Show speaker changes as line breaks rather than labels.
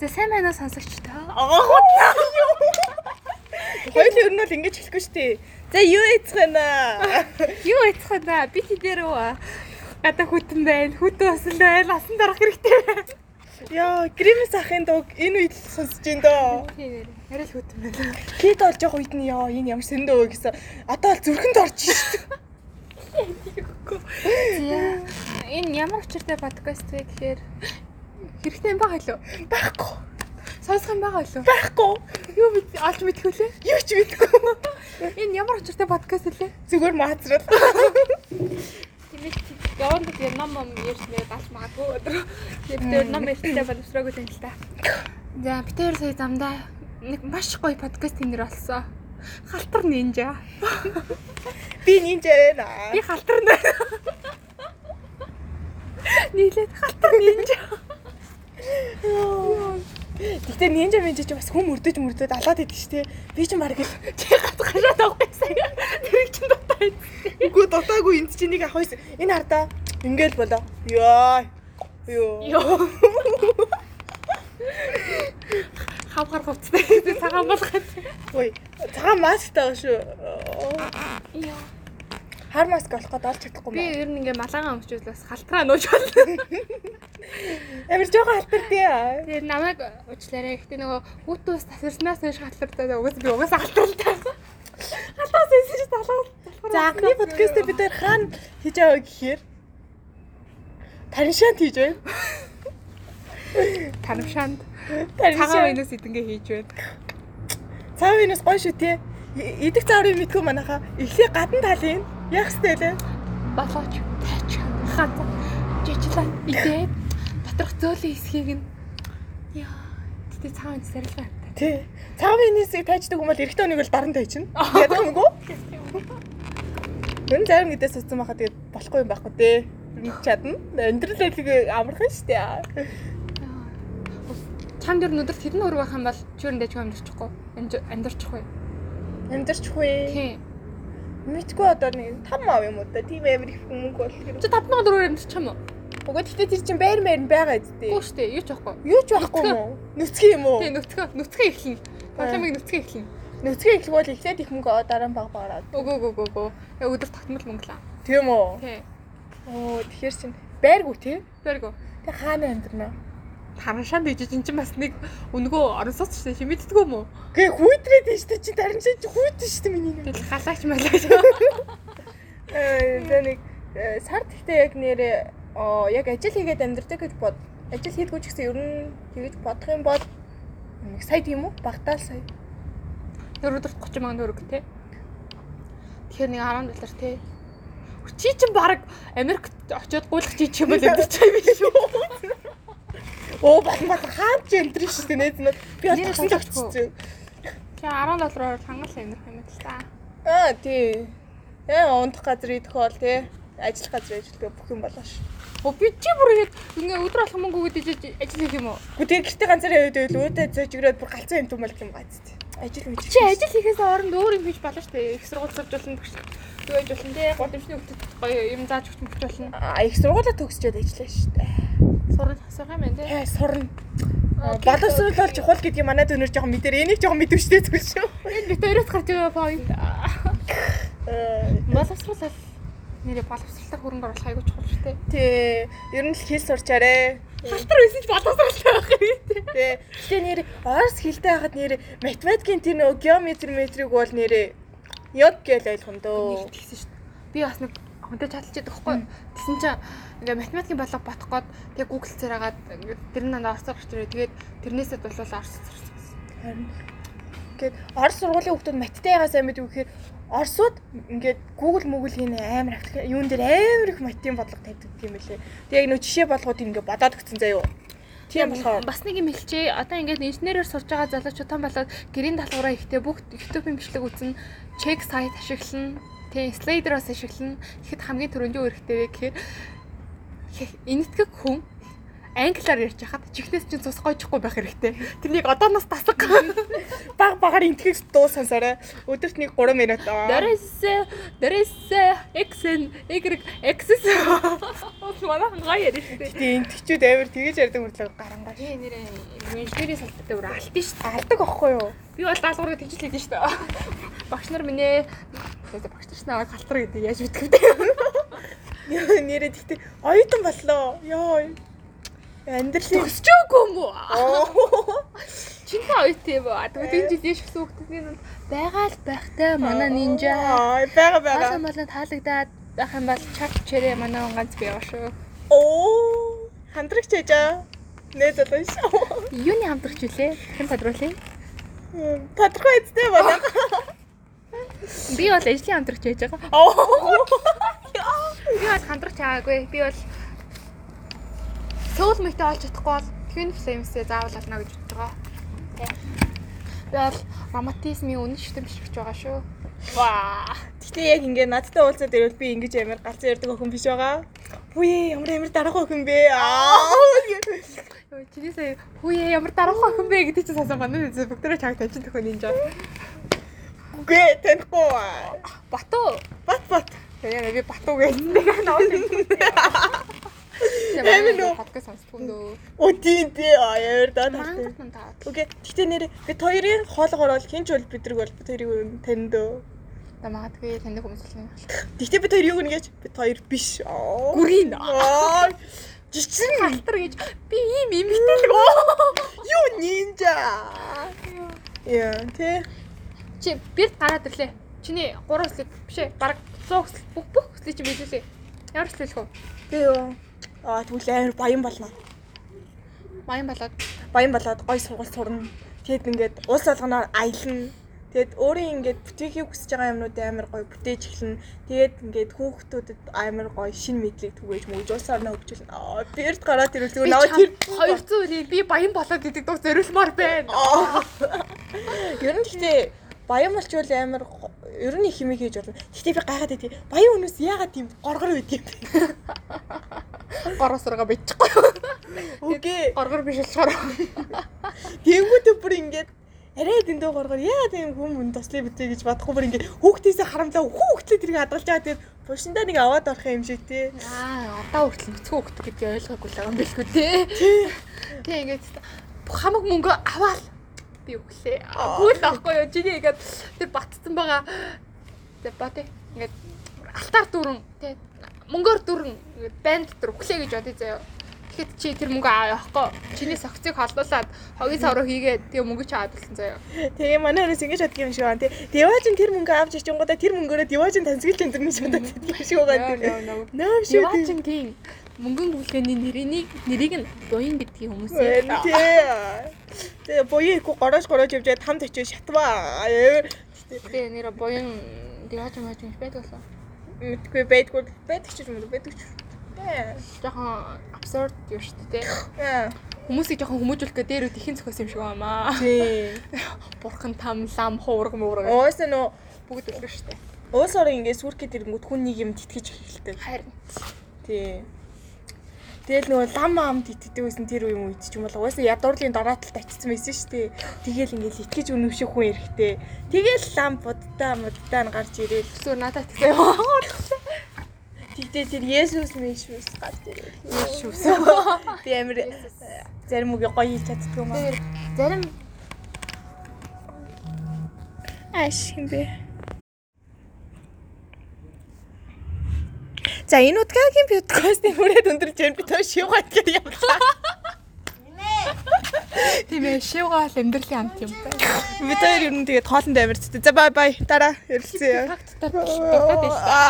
За сайн байна уу сонсогчдоо.
Хоёул ер нь бол ингэж хэлэхгүй шүү дээ. За юу яцх вэ наа?
Юу яцх вэ да? Би тэдэрөө гадаа хүтэн байна. Хүтэн усан байна. Асан дарах хэрэгтэй байна.
Яа, гримэс ахын дуу энэ үед л сонсож байна доо.
Тийм ээ. Арай л хүтэн байна.
Кит олж явах үед нь яа, энэ ямар сэндөө гэсэн. Одоо л зүрхэнд орж шүү дээ.
Тийм. Энэ ямар учиртай подкаст вэ гэхээр хэрэгтэй юм байгаа лөө.
Байхгүй.
Сонсох юм байгаа лөө.
Байхгүй.
Юу бид олж мэдэх үлээ?
Юу ч мэдгүй.
Энэ ямар учиртай подкаст үлээ?
Зүгээр маацрал.
Тэмээс яванд би ном ном ярьснээр галж магадгүй өдөр. Тэр ном ярьснээр боловсроогүй юм л та. За би тэр сая замдаа нэг маш гоё подкаст хиймэр болсон. Халтар нинжа.
Би нинж ярэ наа.
Би халтар нэ. Нийлээд халтар нинжа.
Гэтэ нинж минь ч бас хүм өрдөж мөрдөд алаад идэг шүү дээ. Би ч маргал.
Чи гат гашаад авахгүй сая. Тэр чинь дотоо юм.
Үгүй дутаагүй энд чинь нэг ахвайс. Энэ хардаа ингээл болоо. Йоо. Йоо.
Йоо. Хавхар хувцтай гэдэг цагаан болгоод.
Ой, цагаан маск таа шүү.
Йоо.
Хар маск олох гээд олж чадахгүй
Би
мөн.
ер нь ингээ малаагаан өмчөөс бас халтраа нууж байна.
Амар жоохон халтар тий.
Тэгээ намайг уучлаарай. Гэтэ нөгөө хүүт ус тасарснаас хойш халтартаа угаас би угаас халтартаа. Халтаас эсэж залуу.
За анхны подкаст бид нэр хаана хийж аваа гэхээр Таншаанд хийж байна.
танамшаанд
Таншаанд.
цагаан винус идэнгээ хийж байна.
Цаав энэ бас гоё шүү тий. И- Идэх цааврыг мэдгүй манайха. Эхлээ гадна талын яах ёстой лээ.
Болооч тайч хат жижигэн идээ доторх зөөлөн хэсгийг нь яа тэтэ цагаан винус сарилгаа.
Тий. Цаав энэсийг тааждаг хүмүүс эрэгтэй хүнийг л даран тайчна. Ядаг юм уу? Гэн зарим гэдэг суцсан байхад тэгээд болохгүй юм байхгүй дээ. Би чадна. Өндрөл хэлгийг амархан шүү дээ.
Чамд ер нь өдөрт хэдэн өр байх юм бол чи ер нь дэжгүй амьдчихгүй. Амьдчихгүй.
Амдэрчгүй.
Тийм.
Мэдгүй одоо нэг там ав юм уу та тийм амир их мөнгө бол гэр.
Чи 5-4-өөр амьдчих юм уу?
Угаа тэгтээ тэр чинь байр маяр нь байгаа
Үгүй
зү.
шүү дээ. Юу ч байхгүй.
Юу ч байхгүй юм уу? Нүцгэн юм уу?
Тэгээ нүцгэн нүцгэн эхлэн. Тоглоомыг нүцгэн эхлэн.
Нүцгэн их бол эхлээд их мөнгө аваад дараа нь баг багараа.
Өгөө өгөө өгөө. Яа өдөр тогтмол мөнгөлөө.
Тийм үү?
Тий.
Оо тэгэхэр чинь байргу тий.
Тэргөө.
Тэг хаана амьдрнаа?
Хараншаанд ижиж эн чинь бас нэг өнгөө орносоос ч гэсэн хэмэддэг юм уу?
Гэ хүүтрээд нь штэ чи таринчаа чи хүүтэн штэ миний нэг.
Тэгэл халаач малаач.
Ээ за нэг э, сар тэгтээ яг нэрээ оо яг ажил хийгээд амьдрдаг гэж бод. Ажил хийдгүй ч гэсэн ер нь тэгэж бодох юм бол нэг сая тийм үү? Багтаал сая.
Тэр өдөрт 30 мянган төгрөг тий. Тэгэхээр нэг 10 доллар тий. Чи чинь баг Америкт очиод гуйлах чи ч юм бол өдөртэй биш үү?
Оо батмат хаач өндөр шүү дээ нээд нэ. Би
Нэр
бас
сонсохгүй.
тогтчихсон.
Чи 10 доллараар хангал Америк юм л та.
Аа тий. Яа унтах газар идэх бол тий. Ажиллах газар ажилтгаа бүх юм болоо ш.
Оо би чи бүр ингэж ингээ өдөр болох мөнгө өгөөд ижиж ажил хийх юм уу?
Гэхдээ гэртээ ганцаараа яваад байвал өөдөө зөжгөрөөд бүр галзуу юм дүүмэл юм гац тий. Ажил мэт.
Чи ажил хийхээс оронд өөр юм хийж болно шүү дээ. Их сургууль сурж болно, багш- юу хийж болно те. Гудамжны хөтөд гоё юм зааж өгч мөч болно.
аа их сургуулаа төгсчээд ажиллаа шүү дээ.
Сурах асуух юм байна те.
Тий сурна.
Аа,
Боловсрол бол чухал гэдгийг манай дөнөр жоохон мэдэр. Энийг жоохон мэдвэштэй зүйл шүү.
Энэ бит өрөөс гарч байгаа point.
Ээ,
Боловсрол бол нэрээ боловсролтой хөрөнгө оруулах айгуу чухал шүү дээ.
Тий. Ер нь л хэл сурчаарэ.
Халтар өсөж боловсролтой байх юм те.
Тий. Гэтэ нэр Орос хэлтэй хахад нэр математикийн тэр нөгөө геометр метрийг бол нэрээ ёд гэж ойлгоно дөө.
Нэгт гисэн шүү дээ. Би бас нэг хүнтэй чаталж байдаг хгүй. Тэсэн чинь ингээ математикийн болго бодох гээд тэг Google цаар агаад ингээ тэр нь надад орцоор гарч ирээ. Тэгээд тэрнээсээ болвол орцоор гарч.
Харин ингээд Орос сургуулийн хүмүүс маттай яга сайн мэдвэ гэхээр Оросууд ингээд Google Google хийнэ амар аппликейшн юун дээр амар их математикийн бодлого тавьдаг юм байлээ. Тэг яг нөгөө жишээ болгоод ингээд бодоод өгсөн заяо. Тийм болохоор
бас нэг юм хэлчихье. Одоо ингээд инженерээр сурж байгаа залуучууд том болоод гэрийн даалгавраа ихтэй бүх YouTube мэмжлэг үзнэ, check site ашиглана, тийм Slider-оос ашиглана. Тэгэхэд хамгийн түрүүнд юу хэрэгтэй вэ гэхээр хэ- энэтхэг хүн англиар ярьж хахад чихнээс чинь цус гойчихгүй байх хэрэгтэй.
Тэрнийг одооноос тасаг. Баг багаар интгэж дуусансараа. Өдөрт нэг 3 минут.
Дэрэсэ, дэрэсэ, эксэн, игрэг, эксэс. Манай гай ярьж штэ.
Тэгээ интгэчүүд амар тэгэж ярьдаг мөрлөг гарангаш.
Би нэрээ инженерийн салбарт дээр алтын штэ.
Алдаг аахгүй юу?
Би бол даалгаврыг тэгж л хийдэж штэ. Багш нар минь ээ. Тэгээд багш нар ч намайг халтар гэдэг яаж мэдэх вэ?
Яа, Нэрээ тэгтээ оюутан боллоо. Йоо. Амьдралын
Төсчөөгүй юм уу?
Оо.
Чиний оюут юм уу? Тэгвэл энэ жил яш гэсэн хүмүүсийн нь байгаа л байхтай манай нинжа.
Аа, бага
Баасан
бага.
болон таалагдаад байх юм бол чак чирээ манай он ганц бий шүү.
Оо. Хандрагч ээжээ. Нээ залгаш.
Юуны хамтрагч үлээ? Хэн тодруулъя?
Тодорхой эцтэй болоо.
Би бол ажлын хамтрагч байж байгаа.
Оо.
Би бол хамтрагч байгаагүй. Би бол Soul Mate-тэй олж чадахгүй бол Twin Flames-ээ заавал олно гэж бодож байгаа. Тэ. Би бол романтизмын үнэн шүтэн биш гэж байгаа шүү.
Ваа. Тэгтээ яг ингээ надтай уулзаад ирвэл би ингэж амар галзуу ярддаг охин биш байгаа. Үе ямар амар дараагүй охин бэ? Аа.
Йоо, чиний сая хүүе ямар дараах охин бэ гэдэг чинь сонсоо манай бүгдөө чаг тавьж төхөө нинжа.
Үгүй танихгүй. ба.
Батуу.
Бат бат.
Тэгээ би батуу гэдэг нэг
Эмэн үү?
нөө. Подкаст сонсдгүй нөө.
Өдин дээ аяар даа.
Мангад мэн таа.
Окей. Тэгтээ нэрээ бид хоёрын хоолгоор бол хинч бол бидрэг бол бид хоёрыг таниндөө.
Та магадгүй танд хүмүүс л нэг.
Тэгтээ бид хоёр юу гэнэ гэж бид хоёр биш. Аа.
Гүрийн.
Аа. Жичин
Халтар гэж би ийм имэгтэй л гоо.
юу нинжа. Яа, тэ.
Чи бир гараад ирлээ. Чиний 3 хүслэг биш ээ. Бараг 100 хүсэл бүх бүх хүслийг чи биелүүлээ. Ямар хүсэл хөө?
Тэ юу. Аа тэгвэл амар баян болно.
Маян болоод
баян болоод гой сургууль сурна. Тэгэд ингээд улс олгоноор аялна. Тэгэд өөрөө ингээд бүтээхийг хүсэж байгаа юмнууд амар гой бүтээж эхэлнэ. Тэгэд ингээд хүүхдүүдэд амар гой шин мэдлэг түгээж мөж улс орноо хөгжүүлнэ. Аа бэрд гараад
би
ирүүлдэг. Наваа тэр
200 үний би баян болоод гэдэг дуу зориулмаар байна.
Аа. Ер нь гэхдээ баян болчвол амар го- ер нь их хэмиг хийж болно. Гэхдээ би гайхаад байдгийг. Баян хүнээс яагаад тийм горгор байдгийг бэ?
Гороо сурга бичихгүй.
Үгүй.
Горгор биш болохоор.
Тэнгүүтээ бүр ингээд арай дэндүү горгор яа тийм хүм хүн тослыг битээ гэж бодохгүй бүр ингээд хүүхдээсээ харамлаа хүүхдлээ тэрийг хадгалж байгаа тийм бушиндаа нэг аваад орох юм шиг тий.
Аа, одоо хүртэл нүцгэн хөхт гэдгийг ойлгоогүй л байгаа юм биш үү те. Тэг ингээд бүх хамаг мөнгөө аваал би өглөө. Үгүй л аахгүй юу. Чиний ингээд тэр батцсан байгаа. Тэг бат ээ. ингээд алтаар дүүрэн те мөнгөөр дүүрэн ингээд банд дүүр өглөө гэж бодъё заяа. Тэгэхэд чи тэр мөнгө авахгүй. Чиний согцыг холдуулаад хогийн савруу хийгээд тэг мөнгө чи аваад болсон заяа.
Тэгээ манай хүмүүс ингэж боддог юм шиг байна тий. Деваж нь тэр мөнгө авч ичингуудаа тэр мөнгөөрөө деваж нь тансгил зэмдэрнэ шиг бодод байдаг юм шиг байгаа тий. Нөө шүү тий.
Яваачин тийм мөнгөн бүлгэний нэрийг нэрийг нь буян гэдгийг хүмүүс
Үэн,
ярьдаг.
тий. Тэгээ боёо ихгүй гороож гороож явжээд хамт очиж шатваа. Ээ,
Тэгээ нэр буян диваач маач юм байдаг болоо.
Мэдгүй байдгүй байдаг ч юм уу байдаг ч. Тий.
Жохон абсурд юу шүү дээ. тэ.
Ээ.
Хүмүүсийг жохон хүмүүжүүлэх гэдэг дээр үтхийн зөхөөс юм шиг байна.
Тий.
Бурхан там лам хуурга муурга
Уусан нөө
бүгд үлгэр шүү дээ.
Уус орон ингээд сүрхэд ирэнгүүт хүн нэг юм тэтгэж эхэлдэг.
Харин
Тий. Тэгэл нөгөө лам амд итгэдэг байсан тэр үе юм үед ч юм бол уусаа ядуурлын дараа талд очсон байсан шүү дээ. Тэгэл ингээд итгэж өнөвшөх хүн эрэхтэй. Тэгэл лам буддаа муддаа нь гарч ирээл.
зүгээр надад тэгтэй юм.
Тэгтээ тэр Есүс мэшүүс гарч ирээл.
Иешүүс.
Би амир э, зарим үг гоё хийж чаддаг юм аа.
Тэр зарим
Ааш юм бэ. За энэ удаагийн подкастын хүрээд өндөрлж байна. Би тоо шивгаад гэр юм.
тийм ээ шивгаал амьдралын амт юм байна.
Бид хоёр ер нь тэгээд хоолнд амир зүтэй. За бай бай. Дараа ярилцъя.
Факт дотор дуртад л.